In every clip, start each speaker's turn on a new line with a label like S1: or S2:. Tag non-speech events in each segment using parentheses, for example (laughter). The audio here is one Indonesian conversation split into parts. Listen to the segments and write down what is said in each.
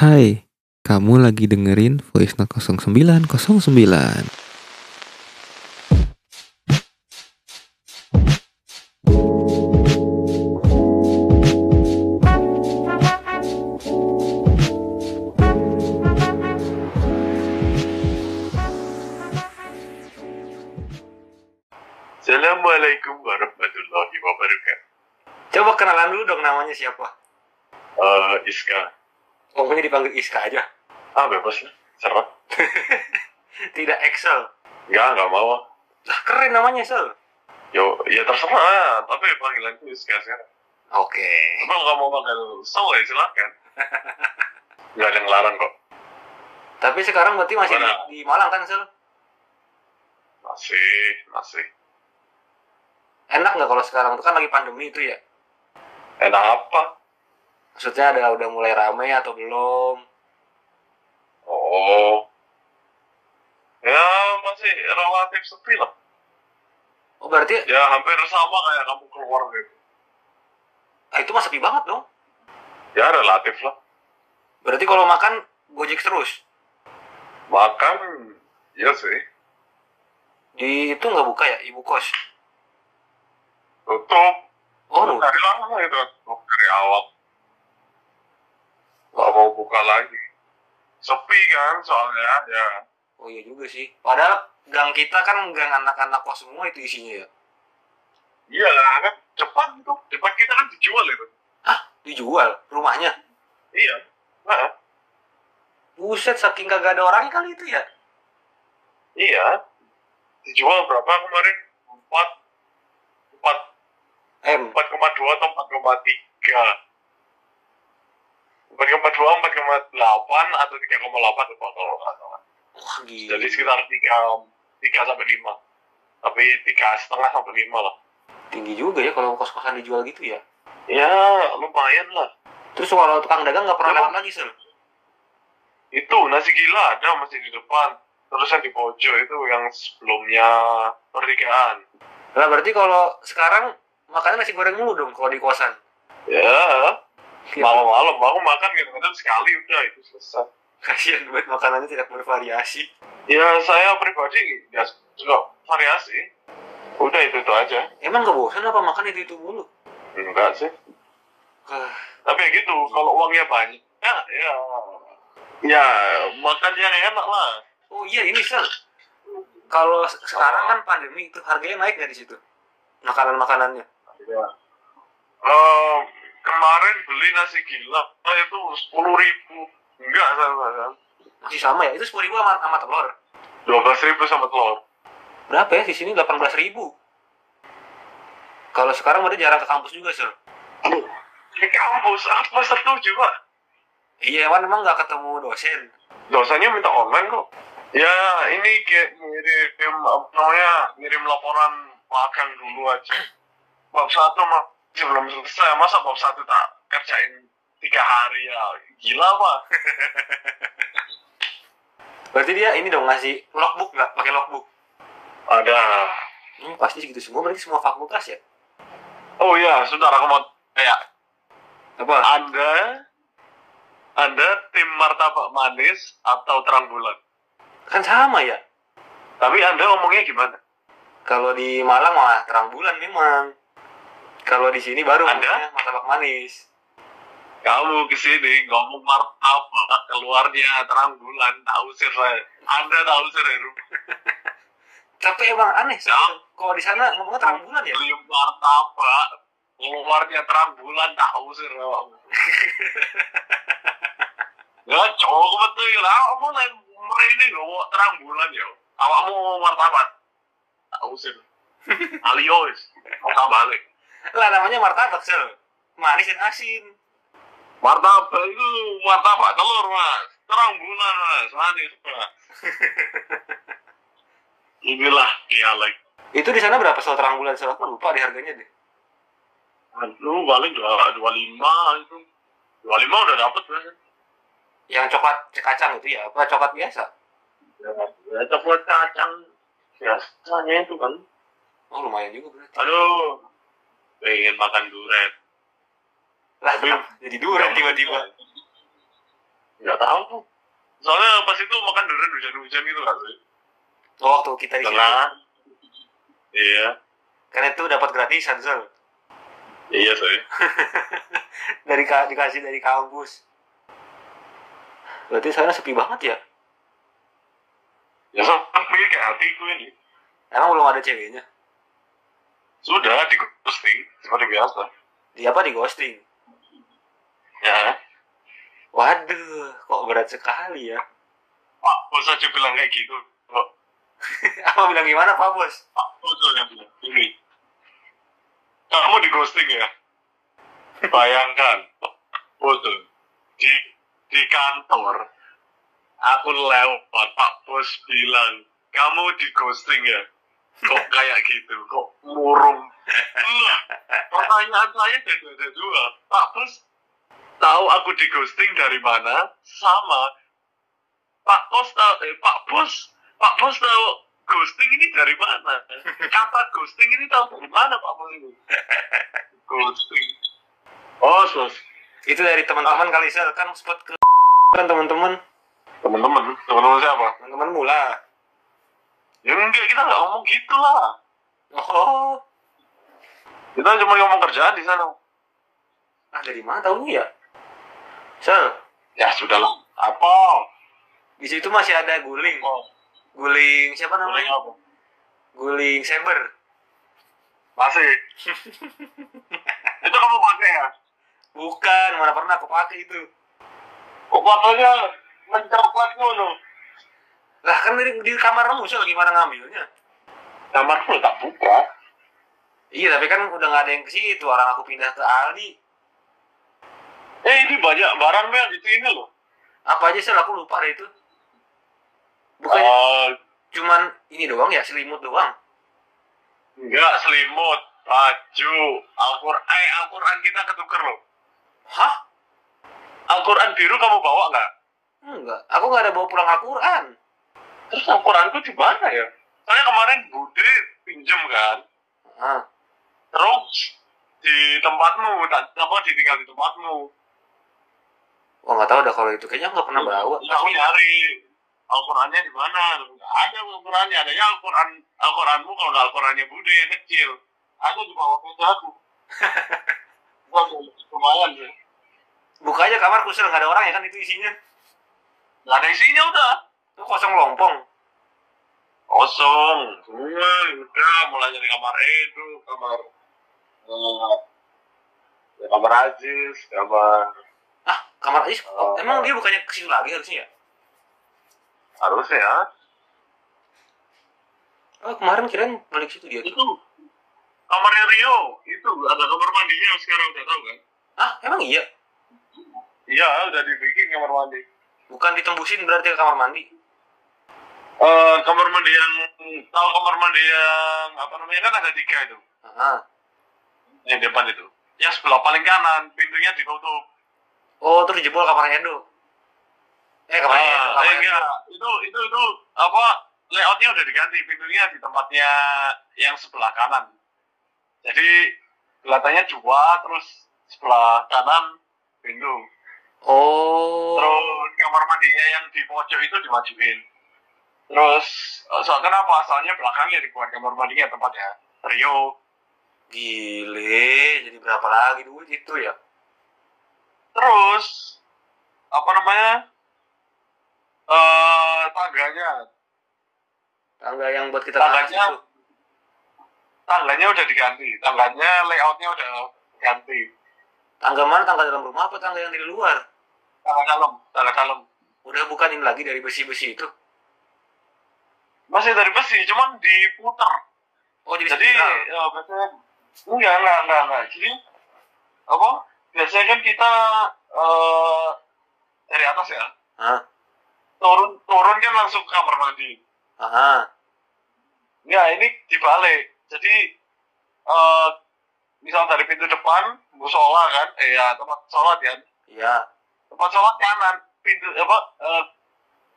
S1: Hai, kamu lagi dengerin Voice Note 0909.
S2: Assalamualaikum warahmatullahi wabarakatuh.
S3: Coba kenalan dulu dong namanya siapa.
S2: Eh, Iska.
S3: Pokoknya dipanggil Iska aja.
S2: Ah, bebas lah. Serah.
S3: Tidak Excel.
S2: Enggak, enggak mau. ah.
S3: Lah keren namanya Excel.
S2: Yo, ya terserah. ah. Tapi panggilanku Iska sekarang.
S3: Oke.
S2: Kalau nggak mau panggil Saul ya silakan. (laughs) Enggak ada yang larang kok.
S3: Tapi sekarang berarti masih di,
S2: Mana?
S3: di Malang kan Excel?
S2: Masih, masih.
S3: Enak nggak kalau sekarang itu kan lagi pandemi itu ya?
S2: Enak apa?
S3: Maksudnya ada udah mulai rame atau belum?
S2: Oh. Ya, masih relatif sepi lah.
S3: Oh berarti
S2: Ya, hampir sama kayak kamu keluar gitu.
S3: ah, itu masih sepi banget dong.
S2: Ya, relatif lah.
S3: Berarti kalau makan gojek terus.
S2: Makan, ya sih.
S3: Di itu nggak buka ya ibu kos?
S2: Tutup.
S3: Oh
S2: Dari
S3: nutup.
S2: lama itu tutup dari awal. Gak mau buka lagi. Sepi kan soalnya ya.
S3: Oh iya juga sih. Padahal gang kita kan gang anak-anak kos semua itu isinya ya.
S2: Iya kan Jepang itu. Jepang kita kan dijual itu.
S3: Dijual rumahnya.
S2: Iya. Nah,
S3: Buset saking kagak ada orangnya kali itu ya.
S2: iya. Dijual berapa kemarin? Empat. Empat.
S3: Em,
S2: Empat koma dua atau empat koma tiga. Empat koma dua, empat koma delapan atau tiga koma delapan lupa kalau nggak salah.
S3: wah gila.
S2: Jadi sekitar tiga tiga sampai lima. Tapi tiga setengah sampai lima lah.
S3: tinggi juga ya kalau kos-kosan dijual gitu ya.
S2: Ya, lumayan lah.
S3: Terus kalau tukang dagang nggak pernah
S2: Emang-
S3: lewat lagi, Sel.
S2: Itu nasi gila ada masih di depan. Terus yang di pojok itu yang sebelumnya pernikahan.
S3: Lah berarti kalau sekarang makannya nasi goreng mulu dong kalau di kosan.
S2: Ya, Iya.
S3: Mau
S2: malam-malam aku makan kadang-kadang sekali udah itu selesai.
S3: (laughs) kasihan banget makanannya tidak bervariasi.
S2: Ya, saya pribadi ya suka variasi. Udah itu itu aja.
S3: Emang nggak bosan apa makan itu itu mulu?
S2: Enggak sih.
S3: Ah,
S2: Tapi ya gitu, kalau uangnya banyak, ya, ya, ya makan yang enak lah.
S3: Oh iya ini Sel. Kalau se- sekarang kan pandemi itu harganya naik nggak di situ? Makanan-makanannya.
S2: Ya. Eh, kemarin beli nasi gila eh, itu sepuluh ribu enggak sama kan
S3: Masih sama ya? Itu 10.000 ribu sama, sama telur.
S2: dua ribu sama telur
S3: Berapa ya? Di sini 18.000 ribu. Kalau sekarang udah jarang ke kampus juga, Sel.
S2: di kampus apa setuju pak
S3: Iya, Wan emang nggak ketemu dosen.
S2: dosanya minta online kok ya ini kayak ngirim apa namanya ngirim laporan magang dulu aja bab satu masih belum selesai masa bab satu tak kerjain tiga hari ya gila pak
S3: Berarti dia ini dong ngasih logbook nggak? Pakai logbook?
S2: ada
S3: Hmm, pasti segitu semua berarti semua fakultas ya?
S2: oh ya sudah aku mau kayak
S3: Apa?
S2: Anda Anda tim martabak manis atau terang bulan?
S3: Kan sama ya?
S2: Tapi Anda ngomongnya gimana?
S3: Kalau di Malang malah terang bulan memang. Kalau di sini baru
S2: Anda?
S3: namanya martabak manis.
S2: Kamu kesini ngomong martabak, keluarnya terang bulan, tak usir saya. Anda tak usir ya, Heru.
S3: Tapi emang aneh sih.
S2: Ya.
S3: Kalau di sana ngomongnya terang bulan ya?
S2: Beli martabak, keluarnya terang bulan, tak usir kamu. Ya, cowok betul ya. Kamu lain ini ngomong terang bulan ya. Awakmu ngomong martabak, tak usir. Aliois, kota balik.
S3: Lah namanya martabak sel. Manis dan asin.
S2: Martabak itu martabak telur mas, terang bulan mas, manis mas. (laughs) Inilah dialek.
S3: Itu di sana berapa sel terang bulan sel? Aku lupa di harganya deh.
S2: Aduh paling dua dua lima itu, dua lima udah dapet mas.
S3: Yang coklat kacang itu ya? Apa coklat biasa?
S2: Ya, ya, coklat kacang biasanya itu kan.
S3: Oh lumayan juga berarti.
S2: Aduh, pengen makan durian.
S3: Lah
S2: tapi-
S3: jadi durian tiba-tiba.
S2: Ya, nggak tahu tuh soalnya pas itu makan durian hujan-hujan gitu kan sih
S3: Oh, waktu kita di situ.
S2: tenang iya
S3: Karena itu dapat gratisan, Zel.
S2: iya sih
S3: (laughs) Dari ka- dikasih dari kampus. Berarti sana sepi banget ya?
S2: ya sampai kayak hatiku (laughs) ini
S3: Emang belum ada ceweknya?
S2: sudah di ghosting seperti biasa
S3: Di apa di ghosting?
S2: ya
S3: Waduh, kok berat sekali ya? (laughs)
S2: pak bos aja bilang kayak gitu Kok
S3: apa bilang gimana, Pak Bos?
S2: pak bos aja bilang ini kamu di ghosting ya bayangkan foto di di kantor aku lewat pak bos bilang kamu di ghosting ya kok kayak gitu kok murung Lah, pertanyaan saya dari ada dua pak bos tahu aku di ghosting dari mana sama pak bos tahu eh, pak bos pak bos tahu ghosting ini dari mana kata ghosting ini tahu dari mana pak bos ini ghosting oh sus
S3: Itu
S2: Ah.
S3: dari teman-teman kali, Zel. Kan sempat ke kan teman-teman.
S2: teman-teman teman-teman siapa
S3: Teman-teman mula.
S2: ya enggak kita nggak ngomong gitu lah
S3: Oh,
S2: kita cuma ngomong kerjaan di sana
S3: ah dari mana tahu ya? Zel,
S2: ya sudahlah apa
S3: di situ masih ada guling.
S2: oh
S3: Guling siapa
S2: paling
S3: namanya?
S2: apa
S3: Guling Saber.
S2: masih itu kamu pakai ya
S3: Bukan, mana pernah aku pakai itu.
S2: kok fotonya menceroklat ngono
S3: Lah kan di, di kamarmu Zel, gimana ngambilnya?
S2: kamar lu tak buka
S3: Iya, tapi kan udah nggak ada yang ke situ. Orang aku pindah ke Aldi.
S2: eh ini banyak barangnya di sini loh
S3: Apa aja Zel, aku lupa deh itu. Bukannya
S2: Eh,
S3: cuman ini doang ya, selimut doang.
S2: enggak selimut baju Al-Quran eh Al-Quran kita ketuker loh
S3: Hah?
S2: Al-Quran biru kamu bawa nggak
S3: Enggak, aku nggak ada bawa pulang Al-Quran.
S2: terus Al-Quranku di mana ya saya kemarin Bude pinjem kan
S3: Ah,
S2: terus di tempatmu tak apa ditinggal di tempatmu
S3: wah Oh, nggak tahu dah kalau itu kayaknya aku nggak pernah bawa.
S2: Ya, aku nyari Al-Qurannya di mana tapi nggak ada Al-Qurannya adanya Al-Quran Al-Quranmu kalau nggak Al-Qurannya Bude yang kecil ada di bawah meja aku Wah, lumayan ya. sih
S3: Buka aja kamar kusel nggak ada orang ya kan itu isinya.
S2: nggak ada isinya udah
S3: Itu kosong lompong.
S2: kosong semua udah mulai dari kamar Edu kamar eh, ya, kamar Aziz kamar
S3: Ah, kamar Ais, oh,
S2: Oh.
S3: emang dia bukannya ke situ lagi harusnya ya?
S2: harusnya ya
S3: Oh, kemarin kirain balik situ dia.
S2: itu kamarnya Rio itu ada kamar mandinya yang sekarang udah tahu kan
S3: Ah, emang iya?
S2: iya udah dibikin kamar mandi
S3: Bukan ditembusin berarti ke kamar mandi.
S2: Eh, kamar mandi yang tahu kamar mandi yang apa namanya kan ada tiga itu
S3: Ah.
S2: yang depan itu yang sebelah paling kanan pintunya ditutup
S3: Oh, terus jebol kamar Edo. Eh, kamar Edo.
S2: Ah,
S3: Kamar
S2: eh,
S3: Edo.
S2: enggak. itu itu itu apa layoutnya udah diganti pintunya di tempatnya yang sebelah kanan jadi kelihatannya dua terus sebelah kanan pintu
S3: Oh.
S2: terus kamar mandinya yang di pojok itu dimajuin terus eh, so, kenapa asalnya belakangnya dibuat kamar mandinya tempatnya Rio
S3: Gile, jadi berapa lagi duit itu ya?
S2: terus apa namanya eh tangganya
S3: Tangga yang buat kita
S2: Tangganya-
S3: tahan itu.
S2: tangganya udah diganti tangganya layoutnya udah ganti
S3: Tangga mana? Tangga dalam rumah apa tangga yang di luar?
S2: tangga dalam tangga dalam
S3: Udah bukan ini lagi dari besi-besi itu.
S2: masih dari besi cuman diputer
S3: Oh, jadi,
S2: jadi
S3: spiral.
S2: eh, biasanya enggak enggak enggak enggak jadi apa biasanya kan kita eh dari atas ya
S3: Hah?
S2: turun turun kan langsung ke kamar mandi
S3: Ah.
S2: Enggak, ini dibalik. Jadi eh misal dari pintu depan musola kan, eh ya tempat sholat kan,
S3: Iya,
S2: tempat sholat kanan, pintu apa eh,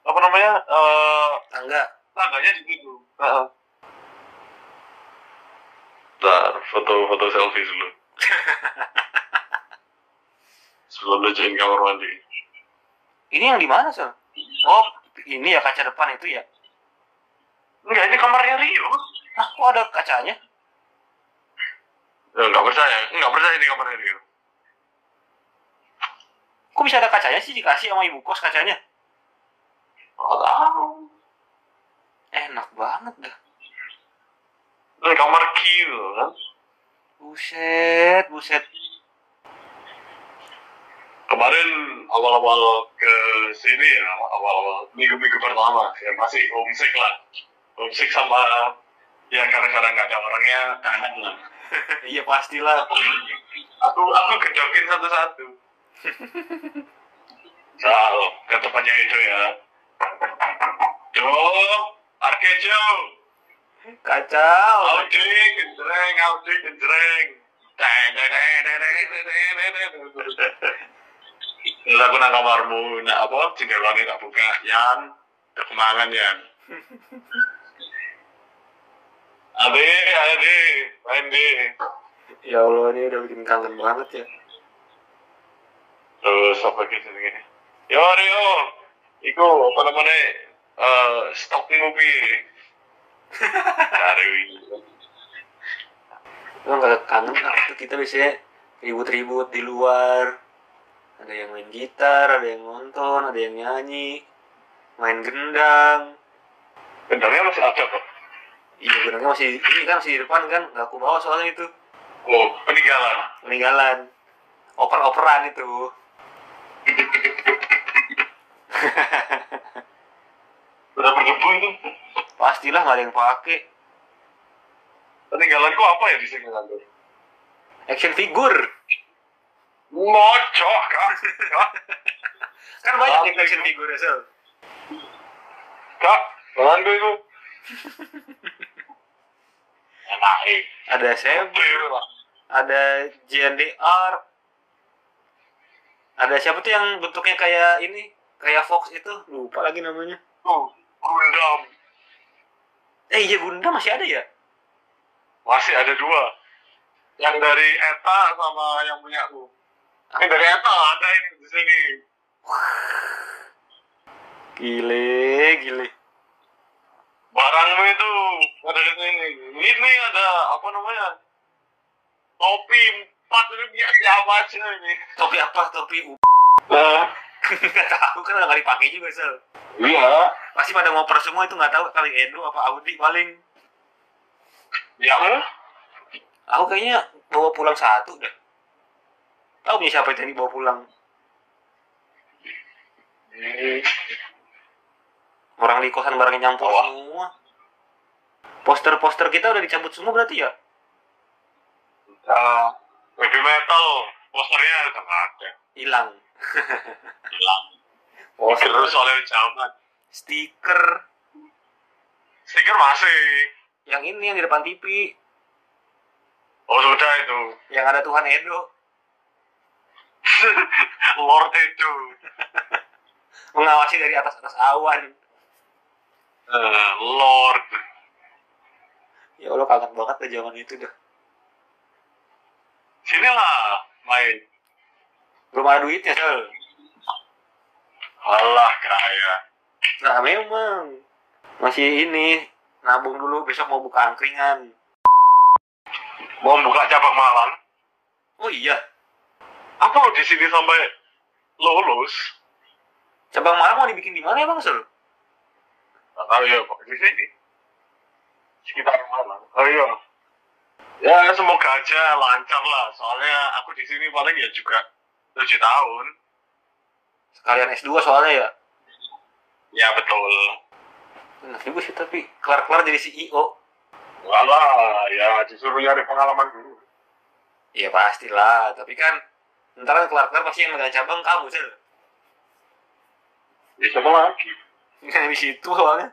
S2: apa namanya eh
S3: tangga.
S2: tangganya di situ. Bentar, foto-foto selfie (laughs) dulu. Sebelum lu join kamar mandi.
S3: Ini yang di mana, Sel? Oh, ini ya kaca depan itu ya.
S2: Enggak, ini kamarnya Rio.
S3: Ah, kok ada kacanya?
S2: Eh, Enggak percaya, enggak percaya ini kamarnya Rio.
S3: Kok bisa ada kacanya sih dikasih sama ibu kos kacanya?
S2: Enggak tahu.
S3: Enak banget dah.
S2: Ini kamar Kill kan.
S3: Buset, buset. (laughs)
S2: Kemarin awal-awal ke sini ya, awal-awal minggu-minggu pertama ya masih homesick lah. Homesick sama ya karena-karena nggak ada orangnya kangen lah.
S3: iya pastilah.
S2: aku aku kedokin (laughs) satu-satu Sal, ke tempatnya itu ya Jo, Arke Jo
S3: Kacau.
S2: Audi, genjreng, Audi, genjreng Deng, deng, deng, deng, deng, deng, deng, deng, deng, deng. Terus aku nang kamarmu, nak apa, jendelanya tak buka Yan, tak kemangan (laughs) Yan Ade, ade, main deh
S3: Ya Allah, ini udah bikin kangen banget ya.
S2: terus apa gitu gini yo Rio iku apa namanya eh stok movie cari
S3: Lo nggak kangen apa tuh kita biasanya ribut-ribut di luar. Ada yang main gitar, ada yang nonton, ada yang nyanyi, main gendang.
S2: bentarnya masih ada kok
S3: Iya, gendangnya masih ini kan masih di depan kan, nggak aku bawa soalnya itu
S2: oh peninggalan
S3: peninggalan. Oper-operan itu.
S2: udah berdebu itu
S3: Pastilah nggak ada yang pakai
S2: peninggalanku apa ya di sini nanti
S3: action figure.
S2: ngocok kak kak
S3: Kan banyak yang
S2: Apa
S3: action
S2: itu?
S3: figure, Sel.
S2: kak tangan gue itu enak eh
S3: Ada Sam,
S2: Dewe lah
S3: ada JNDR ada siapa tuh yang bentuknya kayak ini kayak Fox itu lupa lagi namanya
S2: tuh Gundam
S3: eh iya Bunda masih ada ya
S2: masih ada dua yang dari Eta sama yang punya aku ini dari Eta ada ini di sini
S3: gile gile
S2: barangmu itu ada di sini ini ada apa namanya topi empat ini punya siapa sih ini
S3: topi apa topi u (laughs)
S2: nah
S3: nggak tahu kan nggak dipakai juga sel
S2: iya
S3: pasti pada ngoper semua itu nggak tahu kali Edo apa Audi paling
S2: ya mu
S3: aku kayaknya bawa pulang satu dah tahu punya siapa itu yang dibawa pulang orang di kosan barangnya nyampur
S2: Wah.
S3: semua poster-poster kita udah dicabut semua berarti ya
S2: nah baby metal posternya udah nggak ada
S3: hilang
S2: hilang Oh, terus oleh zaman
S3: stiker
S2: stiker masih
S3: yang ini yang di depan TV
S2: oh sudah itu
S3: yang ada Tuhan Edo
S2: Lord itu
S3: mengawasi dari atas atas awan
S2: Eh, Lord
S3: ya Allah kangen banget dah zaman itu dah
S2: sinilah main Eh.
S3: belum ada duitnya sel
S2: alah kaya
S3: nah memang masih ini nabung dulu besok mau buka angkringan
S2: mau buka cabang Malang
S3: oh iya
S2: aku lo di sini sampai lulus
S3: cabang malam mau dibikin di mana ya bang sel
S2: nggak tahu ya kok di sini sekitar Malang oh iya ya semoga aja lancar lah soalnya aku di sini paling ya juga tujuh tahun
S3: sekalian S2 soalnya ya
S2: ya betul
S3: enak juga sih tapi kelar-kelar jadi E CEO
S2: Walah, ya disuruh nyari pengalaman dulu.
S3: ya pastilah tapi kan ntar kan kelar-kelar pasti yang megang cabang kamu sel
S2: Ya siapa lagi?
S3: yang Kan di situ soalnya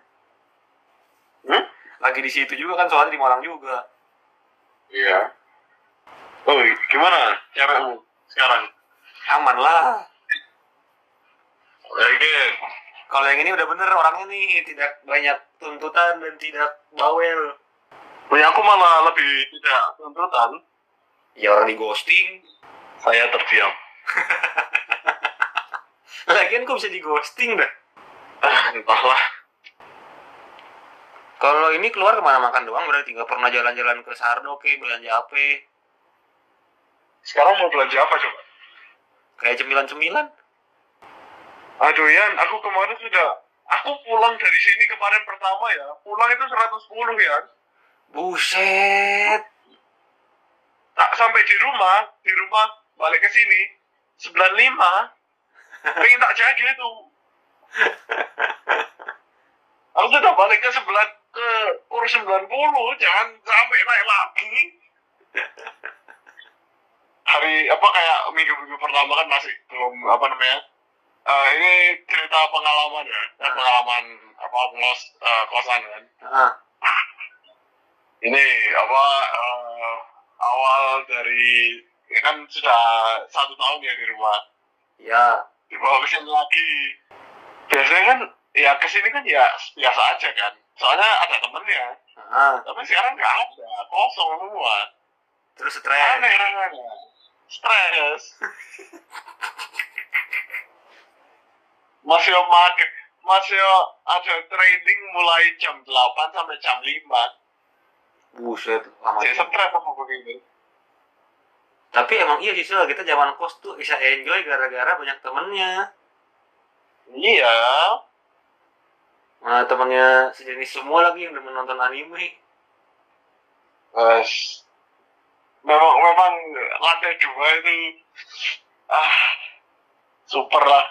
S2: Hmm?
S3: lagi di situ juga kan soalnya di Malang juga
S2: Iya. Oh, gimana cewekmu sekarang?
S3: aman lah
S2: Oke,
S3: kalau yang ini udah bener orangnya nih tidak banyak tuntutan dan tidak bawel
S2: punya aku malah lebih tidak tuntutan.
S3: ya orang di ghosting
S2: Saya terdiam.
S3: Lagian kok bisa di ghosting dah.
S2: Ah, entahlah
S3: Kalau ini keluar kemana makan doang berarti nggak pernah jalan-jalan ke Sardo ke belanja apa
S2: sekarang mau belanja apa coba
S3: kayak cemilan-cemilan.
S2: aduh Yan aku kemarin sudah aku pulang dari sini kemarin pertama ya pulang itu 110 Yan
S3: Buset.
S2: tak sampai di rumah di rumah balik ke sini 95 pengen tak jagel itu aku sudah balik ke sebelah ke kurus 90 jangan sampai naik lagi hari apa kayak minggu-minggu pertama kan masih belum apa namanya eh, ini cerita pengalaman ya Eh, pengalaman apa ngos eh, kosan kan
S3: Ah,
S2: ini apa eh, awal dari ini kan sudah satu tahun ya di rumah
S3: ya.
S2: dibawa ke sini lagi biasanya kan ya ke sini kan ya biasa aja kan soalnya ada temennya
S3: Ah,
S2: tapi sekarang nggak ada kosong semua
S3: terus stres.
S2: aneh rasanya stres (laughs) masih market masih ada trading mulai jam 8 sampai jam 5
S3: Buset, lama.
S2: Jadi Iya, stres apa begini
S3: Tapi emang iya sih, Sil. kita zaman kos tuh bisa enjoy gara-gara banyak temennya.
S2: Iya,
S3: Nah, temennya sejenis semua lagi yang udah menonton anime. (laughs)
S2: eh, memang memang lantai dua itu ah super lah.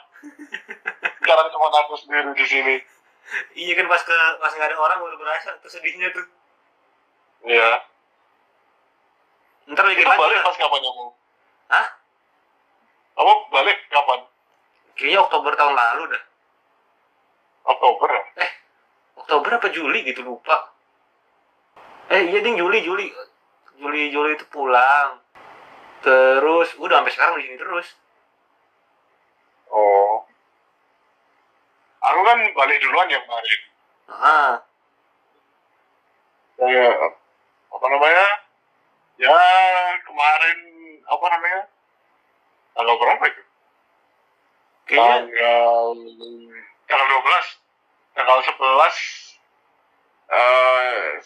S2: Sekarang cuma aku sendiri di sini.
S3: Iya kan pas ke pas nggak ada orang baru berasa tuh sedihnya tuh.
S2: Iya.
S3: Ntar lagi
S2: Itu balik
S3: lanjut.
S2: pas kapan kamu?
S3: Hah?
S2: Kamu balik kapan?
S3: Kayaknya Oktober tahun lalu dah.
S2: Oktober ya?
S3: Oktober apa Juli gitu lupa. Eh iya ding Juli Juli Juli Juli itu pulang. Terus udah sampai sekarang di sini terus.
S2: Oh. Aku kan balik duluan ya kemarin.
S3: Ah,
S2: Kayak apa namanya? Ya kemarin apa namanya? Tanggal berapa itu?
S3: kayaknya
S2: tanggal tanggal 12 tanggal 11 eh 11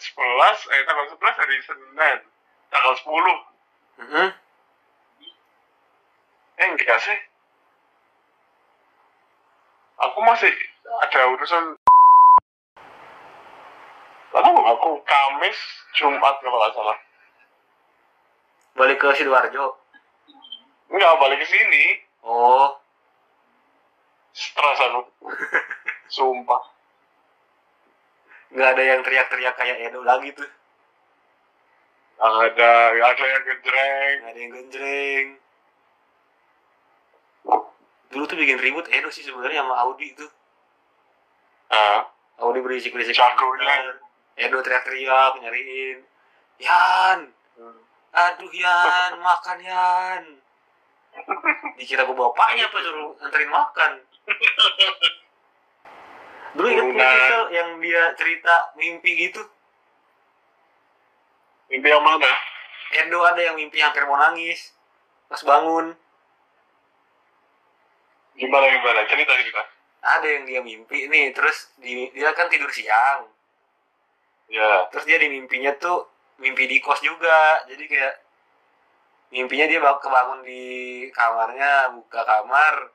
S2: eh tanggal 11 hari Senin tanggal 10
S3: Mhm.
S2: eh enggak sih aku masih ada urusan lalu aku Kamis Jumat kalau nggak salah
S3: balik ke Sidoarjo.
S2: enggak balik ke sini
S3: Oh,
S2: stres aku sumpah
S3: nggak ada yang teriak-teriak kayak Edo lagi tuh.
S2: Nggak ada nggak ada yang ngedreng
S3: Nggak ada yang genjreng. Dulu tuh bikin ribut Edo sih sebenarnya sama Audi tuh.
S2: ah
S3: Audi berisik-berisik.
S2: Jagonya.
S3: Eh, Edo teriak-teriak nyariin. Yan, Aduh Yan, makan Yan. Dikira gue bapaknya apa suruh anterin makan. Dulu inget nggak sih,
S2: Benar.
S3: Sel, yang dia cerita mimpi gitu.
S2: mimpi yang mana
S3: Edo ada yang mimpi hampir mau nangis. Pas bangun,
S2: gimana gimana cerita cerita
S3: ada yang dia mimpi nih. Terus di- dia kan tidur siang.
S2: ya
S3: Terus dia di mimpinya tuh mimpi di kos juga. Jadi kayak mimpinya dia bak- kebangun di kamarnya, buka kamar,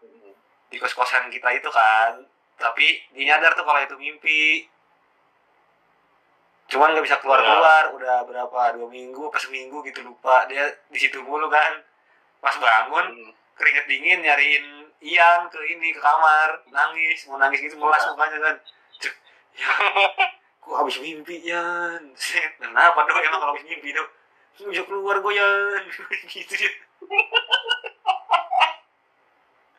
S3: di kos-kosan kita itu kan tapi dia nyadar tuh kalau itu mimpi cuman nggak bisa keluar-keluar udah berapa dua minggu pas seminggu gitu lupa dia di situ mulu kan pas bangun keringet dingin nyariin Ian ke ini ke kamar nangis mau nangis gitu melas mukanya kan Cuk, ya (laughs) gua habis mimpi Ian (laughs) Set, (laughs) kenapa doh emang kalau habis mimpi doh Nggak bisa keluar gue Ian gitu dia